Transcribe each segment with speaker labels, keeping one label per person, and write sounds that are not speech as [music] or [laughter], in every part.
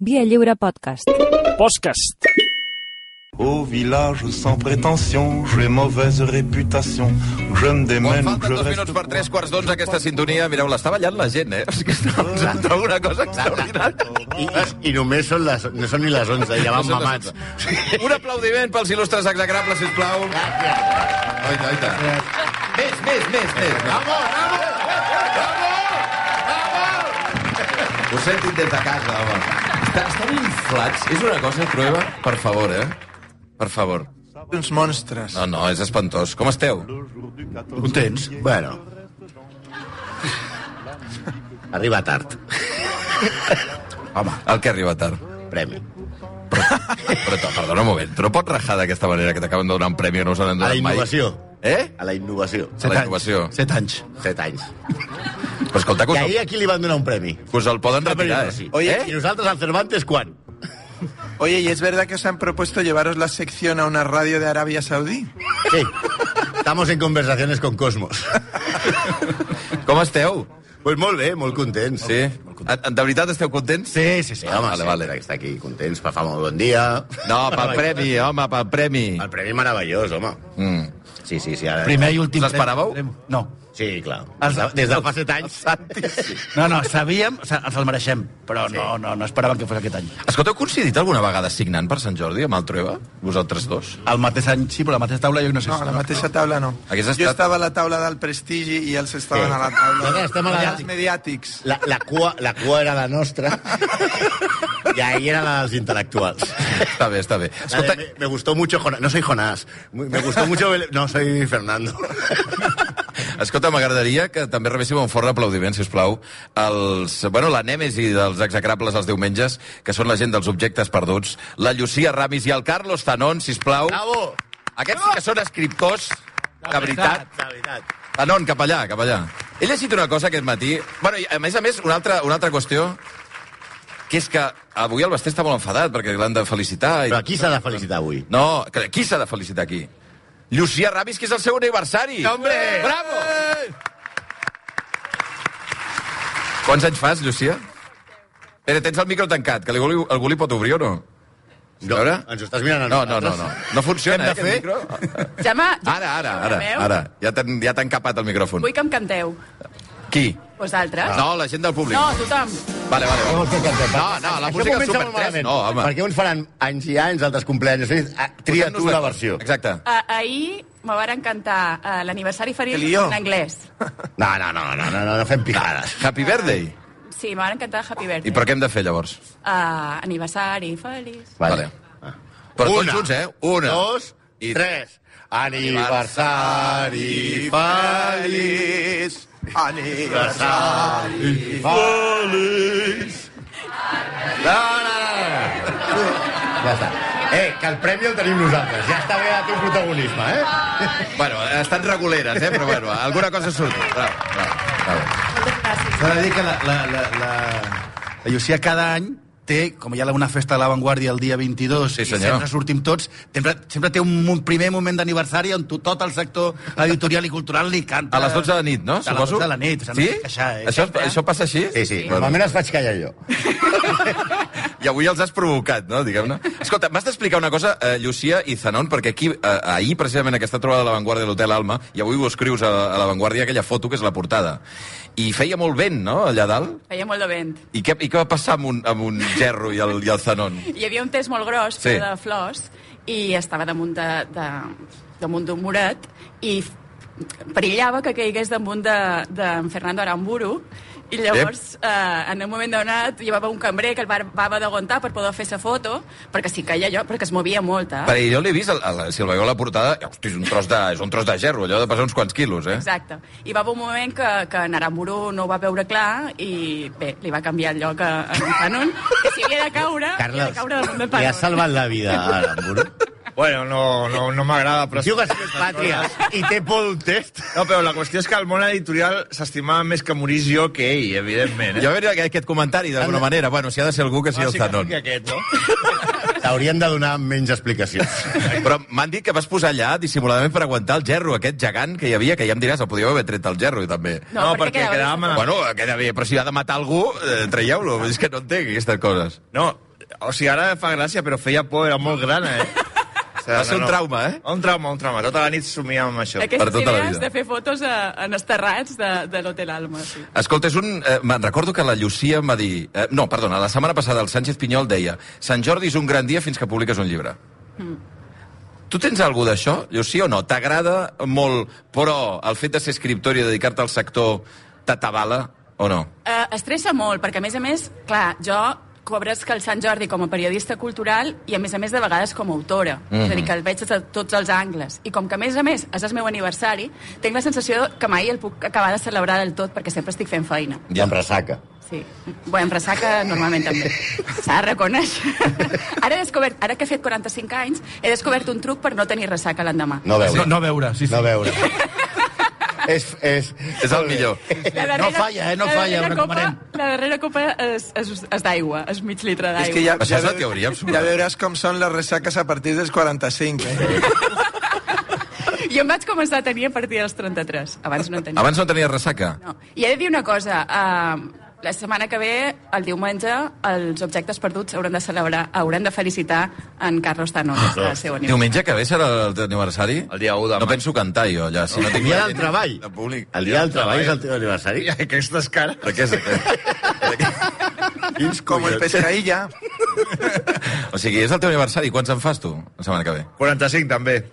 Speaker 1: Via Lliure Podcast.
Speaker 2: Podcast.
Speaker 3: Au village sans prétention, j'ai mauvaise réputation. Je me
Speaker 4: Quan
Speaker 3: démène,
Speaker 4: falten
Speaker 3: je
Speaker 4: dos
Speaker 3: [laughs]
Speaker 4: minuts
Speaker 3: reste...
Speaker 4: per tres quarts d'onze, aquesta sintonia, mireu, l'està ballant la gent, eh? És que està usant una cosa extraordinària.
Speaker 5: I, i, i només són les, no són ni les 11, ja van mamats.
Speaker 4: Sí. Un aplaudiment pels il·lustres execrables, sisplau. Oi, oi, oi. Més, més, més, més. Vamos, vamos! Us sentin des de casa, home. Està- Estan inflats. És una cosa, Trueba, per favor, eh? Per favor.
Speaker 6: Uns monstres.
Speaker 4: No, no, és espantós. Com esteu?
Speaker 5: Contents? Bueno. Arriba tard. Home,
Speaker 4: El que arriba tard.
Speaker 5: premi.
Speaker 4: Però, to- perdona un moment, tu no pots rajar d'aquesta manera que t'acaben de donar un premi que no us n'han
Speaker 5: A la
Speaker 4: donat mai?
Speaker 5: innovació.
Speaker 4: Eh?
Speaker 5: A la innovació.
Speaker 4: Set la innovació.
Speaker 6: Set anys.
Speaker 5: Set anys.
Speaker 4: Però escolta, que
Speaker 5: I
Speaker 4: us,
Speaker 5: ahir
Speaker 4: el,
Speaker 5: aquí li van donar un premi.
Speaker 4: que us el poden retirar, eh?
Speaker 5: Ah, Sí.
Speaker 6: Oye,
Speaker 5: ¿Eh? I nosaltres al Cervantes, quan?
Speaker 6: Oye, ¿y es verdad que os han propuesto llevaros la sección a una radio de Arabia Saudí?
Speaker 5: Sí. Estamos en conversaciones con Cosmos.
Speaker 4: Com esteu?
Speaker 5: Pues molt bé, molt contents.
Speaker 4: Sí? De veritat esteu contents?
Speaker 5: Sí, sí, sí.
Speaker 4: Vale,
Speaker 5: Home, vale,
Speaker 4: vale.
Speaker 5: vale. Està aquí contents, fa, fa molt bon dia.
Speaker 4: No, pel premi, home, pel premi.
Speaker 5: El premi meravellós, home.
Speaker 4: Mm.
Speaker 5: Sí, sí, sí. Ara...
Speaker 7: Primer i últim.
Speaker 4: Us l'esperàveu?
Speaker 7: premi. No.
Speaker 5: Sí, clar.
Speaker 7: Els-
Speaker 5: Des de, des de fa set anys.
Speaker 7: No, no, sabíem, o sigui, ens el mereixem, però
Speaker 5: Sí.
Speaker 7: sí. no, no, no esperàvem que fos aquest any.
Speaker 4: Escolta, heu coincidit alguna vegada signant per Sant Jordi amb el Trueba? Vosaltres dos?
Speaker 7: El mateix any sí, però la mateixa taula jo no sé.
Speaker 6: No, a la mateixa taula no.
Speaker 4: Hagués estat-
Speaker 6: Jo estava a la taula del prestigi i ells estaven
Speaker 5: Sí.
Speaker 6: a la taula
Speaker 5: Nosaltres estem a la-
Speaker 6: dels mediàtics.
Speaker 5: La, la, cua, la cua era la
Speaker 4: [laughs]
Speaker 5: nostra i ahí era la dels intel·lectuals.
Speaker 4: Està bé, està bé.
Speaker 5: Escolta,
Speaker 4: Escolta,
Speaker 5: me, me gustó mucho Jonás. No soy Jonás. Me gustó mucho... Bel- No, soy Fernando.
Speaker 4: Escolta, m'agradaria que també rebéssiu un fort aplaudiment, si us plau, els, bueno, la nèmesi dels execrables els diumenges, que són la gent dels objectes perduts, la Llucia Ramis i el Carlos Tanón, si us plau.
Speaker 5: Bravo!
Speaker 4: Aquests sí que són escriptors, de veritat.
Speaker 5: De veritat.
Speaker 4: Tanón, Ah, cap allà, cap allà. He llegit una cosa aquest matí... Bueno, i a més a més, una altra, una altra qüestió, que és que avui el Basté està molt enfadat perquè l'han de felicitar. I...
Speaker 5: Però aquí s'ha de felicitar avui.
Speaker 4: No, que- qui s'ha de felicitar aquí? Llucia Ramis, que és el seu aniversari. Hombre! Bravo! Quants anys fas, Llucia? Pere, tens el micro tancat, que algú, algú li pot obrir o no?
Speaker 5: No, ens ho estàs mirant a
Speaker 4: No, no, no,
Speaker 5: nosaltres?
Speaker 4: no. No funciona,
Speaker 5: Hem de fer?
Speaker 4: eh, aquest micro.
Speaker 8: Ja m'ha... ja-
Speaker 4: Ara, ara,
Speaker 8: ja
Speaker 4: ara,
Speaker 8: veu?
Speaker 4: ara. Ja t'han ja t'han capat el micròfon.
Speaker 8: Vull que em canteu.
Speaker 4: Qui?
Speaker 8: Vosaltres.
Speaker 4: No, la gent del públic.
Speaker 8: No, tothom.
Speaker 4: Vale, vale,
Speaker 5: Què
Speaker 4: vale.
Speaker 5: vols que cantem?
Speaker 4: No, no, la
Speaker 5: Això
Speaker 4: música
Speaker 5: comença
Speaker 4: Super
Speaker 5: molt
Speaker 4: 3,
Speaker 5: malament,
Speaker 4: no, home.
Speaker 5: Perquè uns faran anys i anys, altres compleanys. Ah, Tria
Speaker 4: Posem-nos
Speaker 5: tu la
Speaker 4: d'acord.
Speaker 5: versió.
Speaker 4: Exacte.
Speaker 8: Ah, ahir me varen cantar eh, l'aniversari
Speaker 6: El
Speaker 8: feliç
Speaker 6: guió.
Speaker 8: en anglès.
Speaker 5: No, no, no, no, no, no, no fem picades.
Speaker 4: Happy birthday.
Speaker 8: Sí, me varen cantar Happy
Speaker 4: I
Speaker 8: Birthday.
Speaker 4: per què hem de fer, llavors?
Speaker 8: Ah, aniversari feliç.
Speaker 4: Vale. Però tots junts, eh? Una,
Speaker 5: dos
Speaker 4: i-
Speaker 5: Ah. i tres. Aniversari
Speaker 6: Feliç aniversari.
Speaker 5: feliç. No, no, no. Ja està. Eh, que el premi el tenim nosaltres. Ja està bé el teu protagonisme, eh?
Speaker 4: Bueno, estan reguleres, eh? Però bueno, alguna cosa surt. Bravo, bravo, bravo.
Speaker 7: S'ha de dir que la, la, la, la, la Llucia cada any té, com hi ha una festa a l'avantguàrdia el dia 22
Speaker 4: Sí,
Speaker 7: i
Speaker 4: senyor.
Speaker 7: sempre sortim tots, sempre, sempre té un, mo- primer moment d'aniversari on tu, tot el sector editorial i cultural li canta.
Speaker 4: A les 12 de la nit, no?
Speaker 7: A les 12 de la nit. O
Speaker 4: Sí?
Speaker 7: sigui, no queixar, eh?
Speaker 4: Això,
Speaker 7: Sempre.
Speaker 4: això passa així?
Speaker 5: Sí, sí.
Speaker 4: Bueno,
Speaker 5: Normalment els faig callar jo.
Speaker 4: I avui els has provocat, no? Diguem-ne. Escolta, m'has d'explicar una cosa, eh, Llucia i Zanon, perquè aquí, eh, ahir, precisament, aquesta trobada de l'avantguàrdia de l'Hotel Alma, i avui ho escrius a, a l'avantguàrdia, aquella foto que és la portada. I feia molt vent, no?, allà dalt.
Speaker 8: Feia molt de vent.
Speaker 4: I què, i què va passar amb un, amb un gerro i el, i el Zanon?
Speaker 8: Hi havia un test molt gros,
Speaker 4: Sí.
Speaker 8: sí. de flors, i estava damunt de, de, damunt d'un muret, i f- perillava que caigués damunt de, de en Fernando Aramburu, i llavors, eh, en un moment donat, llevava un cambrer que el va, va haver d'aguantar per poder fer-se foto, perquè si caia allò, perquè es movia molt, eh?
Speaker 4: Perquè jo l'he vist, el, el, si el veieu a la portada, hosti, és un tros de, és un tros de gerro, allò ha de pesar uns quants quilos, eh?
Speaker 8: Exacte. Hi va haver un moment que, que Naramuru no ho va veure clar i, bé, li va canviar el lloc a, a en Fanon, que si havia de caure, havia de caure damunt de
Speaker 5: li
Speaker 8: Fanon.
Speaker 5: has salvat la vida a l'Ambur.
Speaker 9: Bueno, no, no, no m'agrada, però...
Speaker 5: Diu que és pàtria i té por un test.
Speaker 9: No, però la qüestió és que el món editorial s'estimava més que morís jo que ell, evidentment. Eh?
Speaker 4: Jo veure aquest comentari d'alguna manera. Bueno, si ha de ser algú que sigui el Zanon.
Speaker 9: Bàsicament aquest, no?
Speaker 5: T'haurien de donar menys explicacions.
Speaker 4: [laughs] Però m'han dit que vas posar allà dissimuladament per aguantar el gerro, aquest gegant que hi havia, que ja em diràs, el podíeu haver tret el gerro, també.
Speaker 8: No,
Speaker 9: No,
Speaker 8: perquè
Speaker 9: perquè
Speaker 8: quedava
Speaker 9: quedàvem
Speaker 8: sense
Speaker 9: en-
Speaker 4: Bueno, queda bé, però si ha de matar algú, eh, traieu-lo. És que no entenc aquestes coses.
Speaker 9: No, O sigui, ara fa gràcia, però feia por, era molt gran, eh? O sigui,
Speaker 4: Va ser un trauma, eh?
Speaker 9: Un trauma, un trauma. Tota la nit somiàvem amb això.
Speaker 4: Per
Speaker 8: Aquestes
Speaker 4: tota la
Speaker 8: idees
Speaker 4: vida.
Speaker 8: de fer fotos a, en esterrats de, de l'Hotel Alma. Sí.
Speaker 4: Escolta, és un... Eh, me'n recordo que la Llucia em va dir... Eh, no, perdona, la setmana passada el Sánchez Pinyol deia Sant Jordi és un gran dia fins que publiques un llibre. Mm. Tu tens alguna d'això, Llucia, o no? T'agrada molt, però el fet de ser escriptor i dedicar-te al sector t'atabala o no?
Speaker 8: Eh, estressa molt, perquè a més a més, clar, jo cobres que el Sant Jordi com a periodista cultural i a més a més de vegades com a autora. Mm -hmm. És a
Speaker 5: Mhm.
Speaker 8: dir, que el veig des de tots els angles. I com que a més a més és el meu aniversari, tinc la sensació que mai el puc acabar de celebrar del tot perquè sempre estic fent feina.
Speaker 5: Ja em ressaca.
Speaker 8: Sí. Bé, em ressaca normalment també. S'ha de reconèixer. ara, he descobert, ara que he fet 45 anys, he descobert un truc per no tenir ressaca l'endemà.
Speaker 5: No veure.
Speaker 7: No, no veure, sí, sí.
Speaker 5: No veure. és, és,
Speaker 4: És el
Speaker 5: [laughs]
Speaker 4: millor.
Speaker 8: La
Speaker 7: No falla, eh, no
Speaker 8: la
Speaker 7: falla,
Speaker 8: darrera
Speaker 7: ho recomanem.
Speaker 8: copa, la darrera copa és, és, és d'aigua, és mig litre d'aigua.
Speaker 6: És que ja,
Speaker 4: Això
Speaker 6: ja,
Speaker 4: és la
Speaker 6: ve-
Speaker 4: teoria absoluta.
Speaker 6: ja veuràs com són les ressaques a partir dels 45. Eh?
Speaker 8: Jo em vaig començar a tenir a partir dels 33. Abans no en tenia.
Speaker 4: Abans no tenies ressaca?
Speaker 8: No. I he de dir una cosa. Uh, la setmana que ve, el diumenge, els objectes perduts hauran de celebrar, hauran de felicitar en Carlos Tanos
Speaker 7: Ah,
Speaker 8: el seu aniversari.
Speaker 4: Diumenge que ve serà el teu aniversari?
Speaker 9: El dia u de
Speaker 4: No
Speaker 9: maig.
Speaker 4: penso cantar jo allà. Si no
Speaker 5: El
Speaker 4: tinc
Speaker 5: dia
Speaker 4: la
Speaker 5: del
Speaker 4: gent
Speaker 5: treball.
Speaker 4: de públic.
Speaker 5: El dia del treball és el teu aniversari.
Speaker 9: Aquestes cares...
Speaker 4: Però què és aquest?
Speaker 5: Quins
Speaker 6: Com el pescaïlla.
Speaker 4: O sigui, és el teu aniversari. Quants en fas tu la setmana que ve?
Speaker 9: 45, també.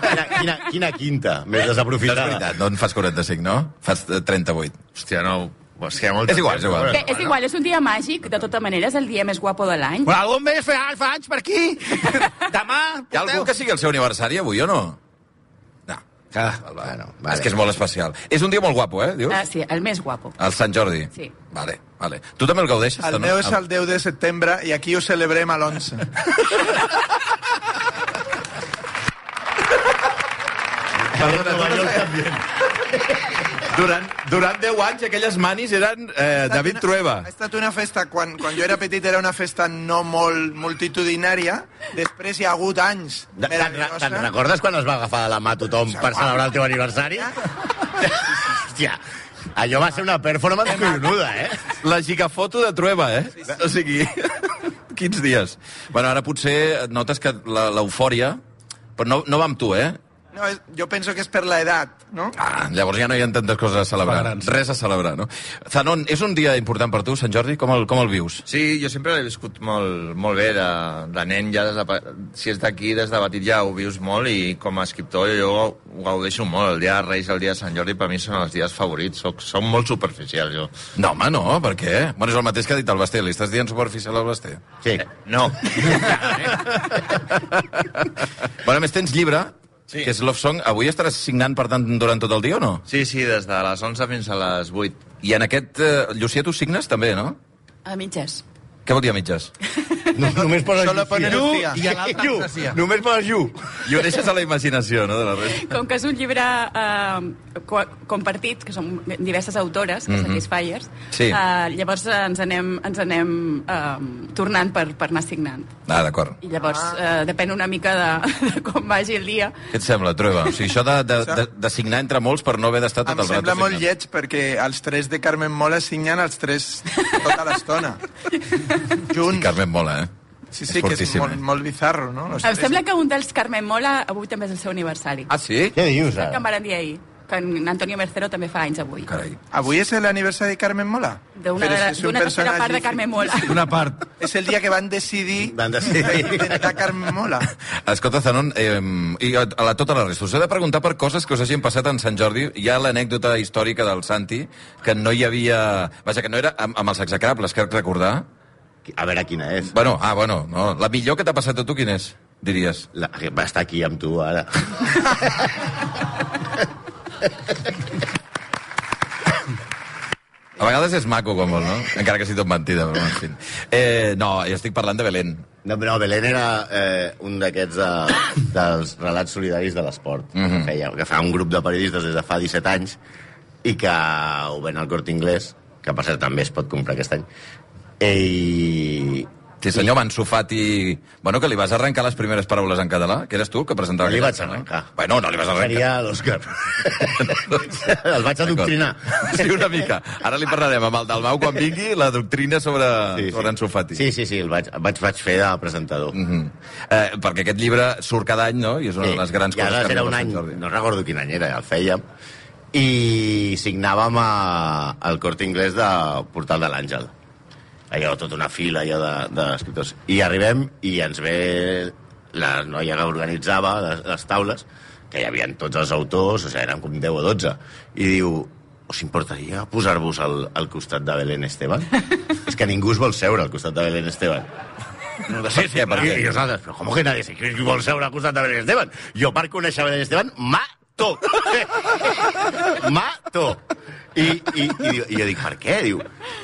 Speaker 5: Quina, quina, quina quinta, més
Speaker 4: És
Speaker 5: desaprofitada.
Speaker 4: veritat, no en fas 45, no? Fas eh, 38.
Speaker 9: Hòstia, no... Hòstia, molt...
Speaker 4: És igual, és igual.
Speaker 8: Bé, és igual, és un dia màgic, de tota manera, és el dia més guapo de l'any.
Speaker 7: Però algun més fa, fa anys per aquí. Demà...
Speaker 4: eh, Hi ha algú que sigui el seu aniversari avui o no? No.
Speaker 7: Ah,
Speaker 5: Bueno,
Speaker 4: Vale.
Speaker 5: vale.
Speaker 4: És que és molt especial. És un dia molt guapo, eh, dius?
Speaker 8: Ah, sí, el més guapo.
Speaker 4: El Sant Jordi.
Speaker 8: Sí.
Speaker 4: Vale, vale. Tu també el gaudeixes? Ah.
Speaker 6: El
Speaker 4: no?
Speaker 6: meu és el 10 de setembre i aquí ho celebrem
Speaker 4: [laughs]
Speaker 6: a l'11.
Speaker 5: Perdona, tu no sé.
Speaker 4: Durant, durant 10 anys aquelles manis eren eh, David Trueba.
Speaker 6: Ha estat una festa, quan, quan jo era petit era una festa no molt multitudinària, després hi ha hagut anys
Speaker 5: Te'n re- te'n
Speaker 6: meravellosa.
Speaker 5: recordes quan es va agafar de la mà tothom per celebrar el teu aniversari? Hòstia, allò va ser una performance coronuda, eh?
Speaker 4: La gigafoto de Trueba, eh? Sí, sí. O sigui, [laughs] quins dies. Bueno, ara potser notes que la- l'eufòria... Però no, no va amb tu, eh?
Speaker 6: No, és- jo penso que és per l'edat, no?
Speaker 4: Ah, llavors ja no hi ha tantes coses a celebrar.
Speaker 7: Celebrant, sí.
Speaker 4: Res a celebrar, no? Zanon, és un dia important per tu, Sant Jordi? Com el, com el vius?
Speaker 9: Sí, jo sempre l'he viscut molt, molt bé de, de nen, ja des de, pe- si és d'aquí, des de petit ja ho vius molt i com a escriptor jo ho gaudeixo molt. El dia de Reis, el dia de Sant Jordi, per mi són els dies favorits. Soc, som molt superficial, jo.
Speaker 4: No, home, no, per què? Bueno, és el mateix que ha dit el Basté. Li estàs dient superficial al Basté?
Speaker 5: Sí.
Speaker 9: No.
Speaker 4: [laughs] Bueno, a més, tens llibre,
Speaker 9: Sí.
Speaker 4: sí. que és Love Song. Avui estaràs signant, per tant, durant tot el dia o no?
Speaker 9: Sí, sí, des de les 11 fins a les 8.
Speaker 4: I en aquest... Eh, Llucia, tu signes també, no?
Speaker 8: A mitges.
Speaker 4: Què vol dir a mitges?
Speaker 5: No, només poses
Speaker 6: Solo ponen
Speaker 5: Llucia.
Speaker 6: Lucía.
Speaker 7: I a l'altre
Speaker 5: Llu,
Speaker 7: Lucía.
Speaker 5: Només poses Llu.
Speaker 4: I ho deixes a la imaginació, no?, de la resta.
Speaker 8: Com que és un llibre eh, co compartit, que són diverses autores, que
Speaker 6: Mhm.
Speaker 8: mm -hmm. Satisfiers,
Speaker 4: Sí.
Speaker 8: eh, llavors ens anem, ens anem eh, tornant per, per anar signant.
Speaker 4: Ah, d'acord.
Speaker 8: I llavors eh, depèn una mica de, de com vagi el dia.
Speaker 4: Què et sembla, Trueba? O sigui, això de, de, de, de signar entre molts per no haver d'estar tot
Speaker 6: Em
Speaker 4: el rato
Speaker 6: sembla molt
Speaker 4: signant.
Speaker 6: lleig perquè els tres de Carmen Mola signen els tres tota l'estona. Junts.
Speaker 4: Carmen mola, eh?
Speaker 6: Sí, sí, que és
Speaker 4: fortíssim,
Speaker 6: molt,
Speaker 4: eh?
Speaker 6: molt bizarro, no? Los
Speaker 8: Em
Speaker 6: tres.
Speaker 8: sembla que un dels Carmen Mola avui també és el seu aniversari.
Speaker 4: Ah, sí?
Speaker 5: Què dius,
Speaker 8: Que em
Speaker 5: ara?
Speaker 8: van dir ahir, que en Antonio Mercero també fa anys avui.
Speaker 4: Carai.
Speaker 6: Avui és l'aniversari de Carmen Mola?
Speaker 8: D'una
Speaker 6: Però és
Speaker 8: de-
Speaker 6: que és un
Speaker 8: d'una tercera
Speaker 6: personatge
Speaker 8: part de Carmen Mola.
Speaker 7: Una part.
Speaker 6: És el dia que
Speaker 9: [laughs]
Speaker 6: van decidir
Speaker 5: Van decidir.
Speaker 6: intentar Carmen Mola.
Speaker 4: Escolta, Zanon, eh, i a a la, tota la resta, us he de preguntar per coses que us hagin passat en Sant Jordi. Hi ha l'anècdota històrica del Santi, que no hi havia... Vaja, que no era amb, amb els execrables, crec recordar.
Speaker 5: A veure quina és.
Speaker 4: Bueno, ah, bueno, no. La millor que t'ha passat a tu, quina és, diries?
Speaker 5: La, va estar aquí amb tu, ara.
Speaker 4: A vegades és maco, com vol, no? Encara que sigui tot mentida, però en fi. Eh, no, jo estic parlant de Belén.
Speaker 5: No, però Belén era eh, un d'aquests de, [coughs] dels relats solidaris de l'esport, mm -hmm. que, feia, que fa un grup de periodistes des de fa 17 anys i que ho ven al Corte Inglés, que per cert també es pot comprar aquest any, i,
Speaker 4: Sí, senyor, Mansu Fati... Bueno, que li vas arrencar les primeres paraules en català, que eres tu el que presentava...
Speaker 5: No li
Speaker 4: aquest
Speaker 5: vaig
Speaker 4: tema, no?
Speaker 5: arrencar.
Speaker 4: Bueno, no li vas arrencar.
Speaker 5: Seria l'Òscar. El vaig adoctrinar.
Speaker 4: D'acord. Sí, una mica. Ara li parlarem amb el Dalmau quan vingui la doctrina sobre, sí, sí. sobre en Sufati.
Speaker 5: Sí, sí, sí, el vaig, vaig, vaig fer de presentador. Mm.
Speaker 4: Mm. Eh, perquè aquest llibre surt cada any, no? I és una de les grans
Speaker 5: I
Speaker 4: coses
Speaker 5: aleshores
Speaker 4: que
Speaker 5: era
Speaker 4: arriba
Speaker 5: un
Speaker 4: a Sant
Speaker 5: any,
Speaker 4: Jordi.
Speaker 5: no recordo quin any era, ja el fèiem, i signàvem a- al Corte Inglés de Portal de l'Àngel. Allò, tota una fila allò de- d'escriptors. De, I arribem i ens ve la noia que organitzava les, les taules, que hi havia tots els autors, o sigui, eren com 10 o 12, i diu, us importaria posar-vos al, al costat de Belén Esteban? És que ningú es vol seure al costat de Belén Esteban.
Speaker 4: No sé, sí,
Speaker 5: I, i nosaltres, però com que nadie se qui vol seure al costat de Belén Esteban? Jo per conèixer Belén Esteban, mato! [laughs] mato! I, i, i, diu- i jo dic, per què? Diu,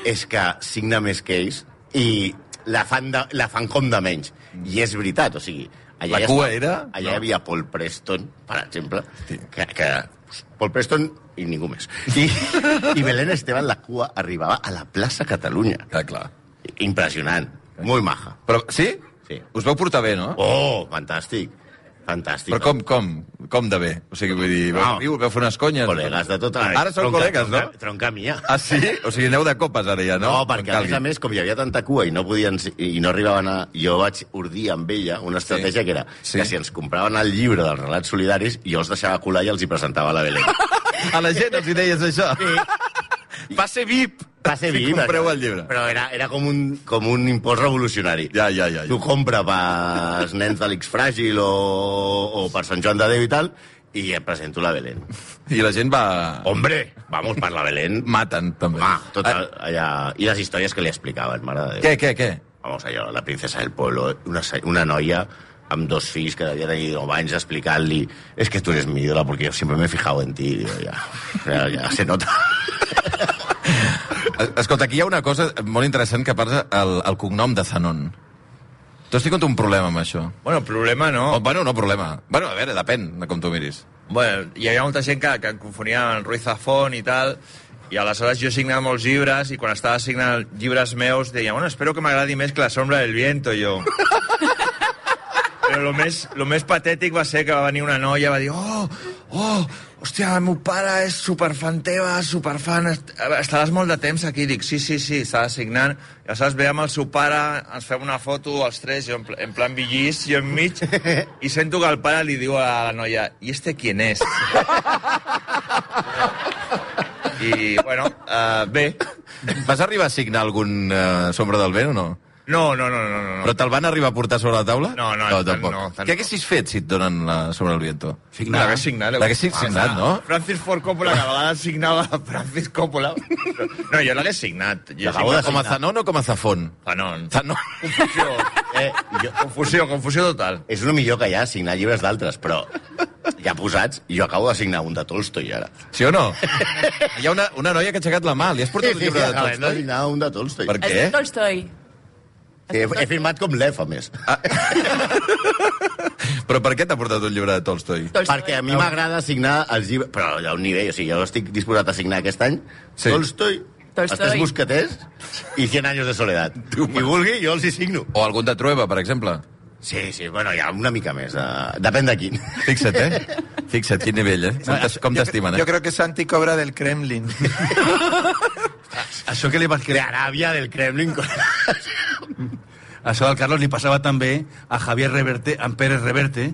Speaker 5: és que signa més que ells i la fan, de, la fan com de menys. I és veritat, o sigui...
Speaker 4: La
Speaker 5: hi
Speaker 4: cua
Speaker 5: estava-
Speaker 4: era?
Speaker 5: Allà hi havia Paul Preston, per exemple, que, que Paul Preston i ningú més. I, I Belén Esteban, la cua, arribava a la plaça Catalunya.
Speaker 4: Ah, clar.
Speaker 5: Impressionant. Molt maja.
Speaker 4: Però, sí?
Speaker 5: Sí.
Speaker 4: Us veu portar bé, no?
Speaker 5: Oh, fantàstic. Fantàstic.
Speaker 4: Però com, com? Com de bé? O sigui, vull dir, vau,
Speaker 5: Wow.
Speaker 4: viu, veu fer unes conyes...
Speaker 5: Col·legues de tota...
Speaker 4: Ara sou col·legues, no?
Speaker 5: Tronca, tronca mia.
Speaker 4: Ah, sí? O sigui, aneu de copes ara ja, no?
Speaker 5: No, perquè a
Speaker 4: Quan
Speaker 5: més a
Speaker 4: calgui.
Speaker 5: més, com hi havia tanta cua i no, podien, i no arribaven a... Jo vaig ordir amb ella una
Speaker 4: Sí.
Speaker 5: estratègia sí. que era
Speaker 4: Sí.
Speaker 5: sí. que si ens compraven el llibre dels relats solidaris, jo els deixava colar i els hi presentava a
Speaker 4: [laughs]
Speaker 5: la Belén.
Speaker 4: A la gent els hi deies això. Passe VIP!
Speaker 5: Va ser
Speaker 4: Si
Speaker 5: viva.
Speaker 4: compreu
Speaker 5: això.
Speaker 4: el llibre.
Speaker 5: Però era, era com, un, com un impost revolucionari.
Speaker 4: Ja, ja, ja.
Speaker 5: T'ho
Speaker 4: ja.
Speaker 5: compra pels nens de l'X-Fràgil o, o per Sant Joan de Déu i tal, i et presento la Belén.
Speaker 4: [laughs] I la gent va...
Speaker 5: Hombre, vamos per la Belén.
Speaker 4: Maten, també.
Speaker 5: Home, tot
Speaker 4: Ah,
Speaker 5: el, allà... I les històries que li explicaven, mare de Déu.
Speaker 4: Eh, Què, què, què?
Speaker 5: Vamos allò, la princesa del pueblo, una, se- una noia amb dos fills que devia tenir 9 anys explicant-li és es que tu eres mi ídola porque yo siempre me he fijado en ti. Digo, ja, ja, ja se nota.
Speaker 4: Es- Escolta, aquí hi ha una cosa molt interessant que passa el, el cognom de Zanon. Tu has tingut un problema amb això?
Speaker 9: Bueno, problema no.
Speaker 4: Oh, bueno, no problema. Bueno, a veure, depèn de com tu miris.
Speaker 9: Bueno, hi havia molta gent que, que em confonia amb Ruiz Zafón i tal, i aleshores jo signava molts llibres i quan estava signant llibres meus deia, bueno, espero que m'agradi més que La sombra del viento, jo.
Speaker 6: [laughs]
Speaker 9: Però lo més, lo més patètic va ser que va venir una noia i va dir oh, oh, hòstia, el meu pare és superfan teva, superfan, est- estaràs molt de temps aquí. Dic, sí, sí, sí, estava signant. Ja saps, ve amb el seu pare, ens fem una foto, els tres, jo en, pl en plan villís, jo
Speaker 6: [laughs]
Speaker 9: enmig, i sento que el pare li diu a la noia, i este quién
Speaker 6: [laughs]
Speaker 9: és? I, bueno, uh, bé.
Speaker 4: Eh? Vas arribar a signar algun eh, Sombra del Vent o no?
Speaker 9: No, no, no, no, no. no.
Speaker 4: Però te'l van arribar a portar sobre la taula?
Speaker 9: No, no,
Speaker 4: no
Speaker 9: tant
Speaker 4: tampoc.
Speaker 9: no, tant
Speaker 4: Què
Speaker 9: no.
Speaker 4: haguessis fet si et donen la Sobre el Viento?
Speaker 7: Signar.
Speaker 9: L'hagués signat.
Speaker 4: L'hagués signat, no?
Speaker 9: Francis Ford Coppola, que a vegades signava [laughs] Francis Coppola. No, jo l'hagués signat. Jo
Speaker 5: L'acabo de
Speaker 4: Com a Zanon o com a Zafón?
Speaker 9: Fanon.
Speaker 4: Zanon.
Speaker 9: Confusió.
Speaker 5: [laughs] Eh, jo,
Speaker 9: Confusió, confusió total.
Speaker 5: és el millor que hi ha, signar llibres d'altres, però ja posats, jo acabo de signar un de Tolstoi ara.
Speaker 4: Sí o no? Hi ha una, una noia que ha aixecat la mà. Li has portat el llibre de
Speaker 5: acabem
Speaker 4: tots,
Speaker 5: de
Speaker 4: no?
Speaker 5: signar un de Tolstoi. Eh,
Speaker 4: Per què?
Speaker 8: És Tolstoi.
Speaker 5: He, he firmat com l'EF, a més.
Speaker 4: Però per què t'ha portat un llibre de Tolstoi?
Speaker 8: Tolstoi.
Speaker 5: Perquè a mi m'agrada signar els llibres... Però hi ha un nivell, o sigui, jo estic disposat a signar aquest any
Speaker 4: Sí.
Speaker 5: sí. Tolstoi,
Speaker 8: Tolstoi.
Speaker 5: Els Tres Mosqueters i 100 anys de
Speaker 7: [laughs]
Speaker 5: soledat. Qui vulgui, jo els hi signo.
Speaker 4: O algun de Trueba, per exemple.
Speaker 5: Sí, sí, bueno, hi ha una mica més. De... Depèn de quin.
Speaker 4: Fixa't, eh? Fixa't, quin nivell, eh? Com t'es- Com t'estimen,
Speaker 6: Yo
Speaker 4: eh?
Speaker 6: creo que Santi cobra del Kremlin. [laughs]
Speaker 7: Això que li vas
Speaker 5: De
Speaker 7: crear...
Speaker 5: Aràbia, del Kremlin...
Speaker 7: Això del Carlos li passava també a Javier Reverte, a en Pérez Reverte,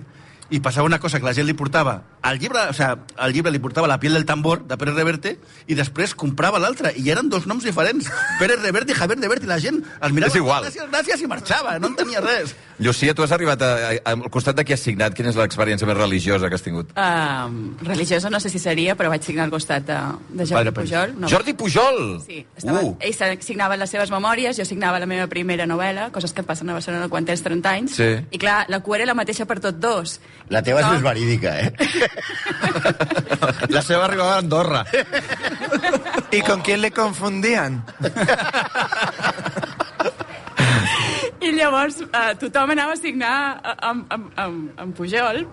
Speaker 7: i passava una cosa que la gent li portava al llibre, o sea, al llibre li portava la piel del tambor de Pérez Reverte i després comprava l'altre i eren dos noms diferents Pérez Reverte i Javier Reverte i la gent els mirava
Speaker 4: És igual.
Speaker 7: gràcies, gràcies i marxava, no entenia res
Speaker 4: Llucia, tu has arribat a, a, al costat de qui has signat. Quina és l'experiència més religiosa que has tingut?
Speaker 8: Um, religiosa no sé si seria, però vaig signar al costat de, de Jordi Pujol. No,
Speaker 4: Jordi Pujol!
Speaker 8: Sí, estava, uh. ell se- signava les seves memòries, jo signava la meva primera novel·la, coses que et passen a Barcelona quan tens 30 anys,
Speaker 4: Sí.
Speaker 8: i clar, la cua era la mateixa per tot dos.
Speaker 5: [laughs] La teva és
Speaker 8: No.
Speaker 5: més verídica, eh?
Speaker 4: [laughs]
Speaker 9: La seva arribava a Andorra.
Speaker 6: ¿Y con quién le confundían?
Speaker 8: [laughs] I llavors eh, tothom anava a signar eh, amb, amb, amb, amb Pujol,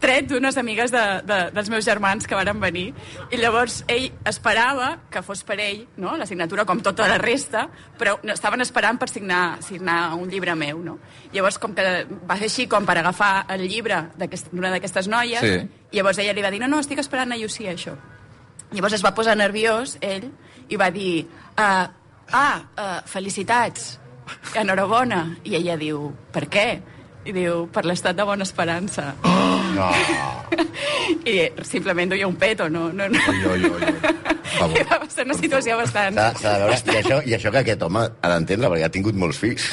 Speaker 8: tret d'unes amigues de, de, dels meus germans que varen venir. I llavors ell esperava que fos per ell, no?, la signatura, com tota la resta, però no, estaven esperant per signar, signar un llibre meu, no? Llavors, com que va fer així, com per agafar el llibre d'aquest- d'una d'aquestes noies,
Speaker 4: Sí.
Speaker 8: llavors ella li va dir, no, no, estic esperant a Llucia, això. Llavors es va posar nerviós, ell, i va dir, ah, ah eh, felicitats, enhorabona. I ella diu, per què? I diu, per l'estat de bona esperança.
Speaker 5: No.
Speaker 4: Ah!
Speaker 8: [laughs] I simplement duia un peto, no? no, no.
Speaker 4: Oi, oi, oi, oi. favor.
Speaker 8: I [laughs] va ser una situació bastant...
Speaker 5: S'ha s'ha de veure... I això, I això que aquest home ha d'entendre, perquè ha tingut molts fills.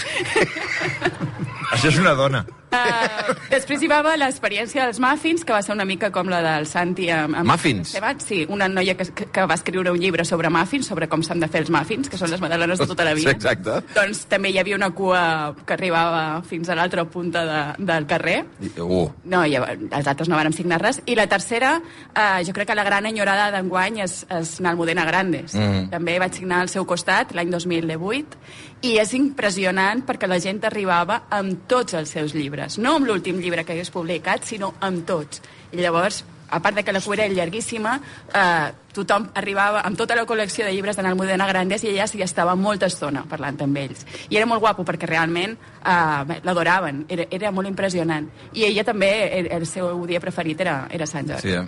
Speaker 9: Això és una dona.
Speaker 8: Uh, després hi va haver l'experiència dels muffins, que va ser una mica com la del Santi. Amb, amb
Speaker 4: Muffins?
Speaker 8: Sebat, sí, una noia que, que- que va escriure un llibre sobre muffins, sobre com s'han de fer els muffins, que són les magdalenes de tota la vida.
Speaker 4: Sí, exacte.
Speaker 8: Doncs també hi havia una cua que arribava fins a l'altra punta de, del carrer.
Speaker 4: Uh,
Speaker 8: No, i llavors, els altres no vàrem signar res. I la tercera, eh, jo crec que la gran enyorada d'enguany és, és Nalmudena Grandes.
Speaker 4: Mhm.
Speaker 8: També vaig signar al seu costat l'any 2008 i és impressionant perquè la gent arribava amb tots els seus llibres. No amb l'últim llibre que hagués publicat, sinó amb tots. I llavors, a part de que la cua era llarguíssima, eh, tothom arribava amb tota la col·lecció de llibres de Nalmudena Grandes i ella s'hi estava molta estona parlant amb ells. I era molt guapo perquè realment eh, bé, l'adoraven, era, era molt impressionant. I ella també, el, el seu dia preferit era, era Sant Jordi.
Speaker 4: sí. eh?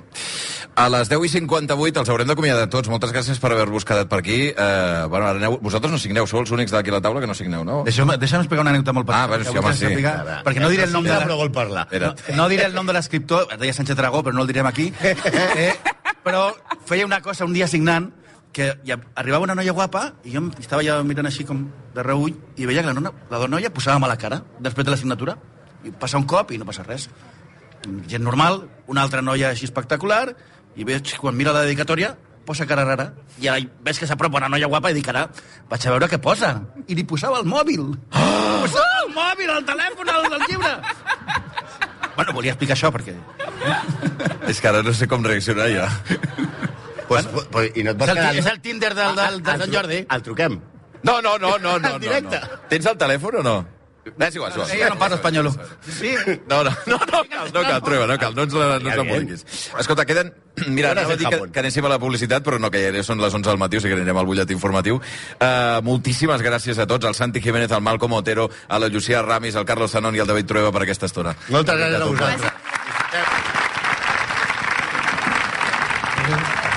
Speaker 4: A les 10 i 58 els haurem d'acomiadar tots. Moltes gràcies per haver-vos quedat per aquí. Eh, bueno, ara aneu, vosaltres no signeu, sou els únics d'aquí a la taula que no signeu, no?
Speaker 7: Deixa'm, deixa'm explicar una anècdota molt petita.
Speaker 4: Ah, bueno,
Speaker 7: que
Speaker 4: sí,
Speaker 7: vull
Speaker 4: home,
Speaker 7: que
Speaker 4: sí.
Speaker 7: sàpiga, Perquè no diré el nom de...
Speaker 5: Ja,
Speaker 7: la-
Speaker 5: però vol parlar.
Speaker 7: No, no diré el nom de l'escriptor, es deia Sánchez Dragó, però no el direm aquí, eh, però feia una cosa un dia signant, que hi ha- arribava una noia guapa i jo em- estava ja mirant així com de reull i veia que la, nona, la noia posava mala cara després de la signatura. I passa un cop i no passa res. Gent normal, una altra noia així espectacular, i veig quan mira la dedicatòria posa cara rara. I ara veig que s'apropa una noia guapa i dic, ara, vaig a veure què posa. I li posava el mòbil. Ah! Posava el mòbil, el telèfon, el, el llibre. Bueno, volia explicar això perquè...
Speaker 4: És que ara no sé com reaccionar ja.
Speaker 5: Pues, pues, pues, I no et
Speaker 7: És
Speaker 5: vas
Speaker 7: el, ti- és el Tinder del,
Speaker 5: Ah,
Speaker 7: del, de
Speaker 5: el
Speaker 7: Sant
Speaker 5: tru-
Speaker 7: Jordi.
Speaker 5: El truquem.
Speaker 4: No, no, no, no, no.
Speaker 5: En directe.
Speaker 4: No, no. Tens el telèfon o no? No, és igual, és igual.
Speaker 7: Ella no parla espanyol. Sí,
Speaker 4: No, no, no, no cal, no cal, Trueba, no cal, no ens la, no ens la modiquis. Escolta, queden... Mira,
Speaker 5: Hores
Speaker 4: anava a
Speaker 5: en
Speaker 4: dir que,
Speaker 5: Japón.
Speaker 4: que anéssim a la publicitat, però no, que ja són les 11 del matí, o sigui que anirem al butlletí informatiu. Uh, moltíssimes gràcies a tots, al Santi Jiménez, al Malcom Otero, a la Llucia Ramis, al Carlos Sanon i al David Trueba per aquesta estona.
Speaker 5: Moltes gràcies a vosaltres.